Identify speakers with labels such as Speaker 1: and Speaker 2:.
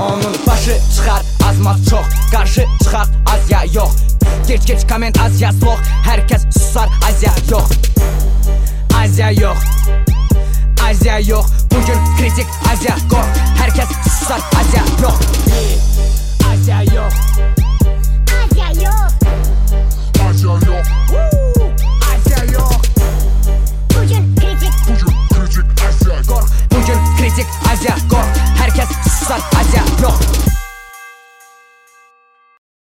Speaker 1: Onun başı çıkar azmaz çok Karşı çıkar az ya yok Geç geç kamen az ya sok Herkes susar az ya yok Az ya yok Az ya yok Bugün kritik az ya kork Herkes susar az ya yok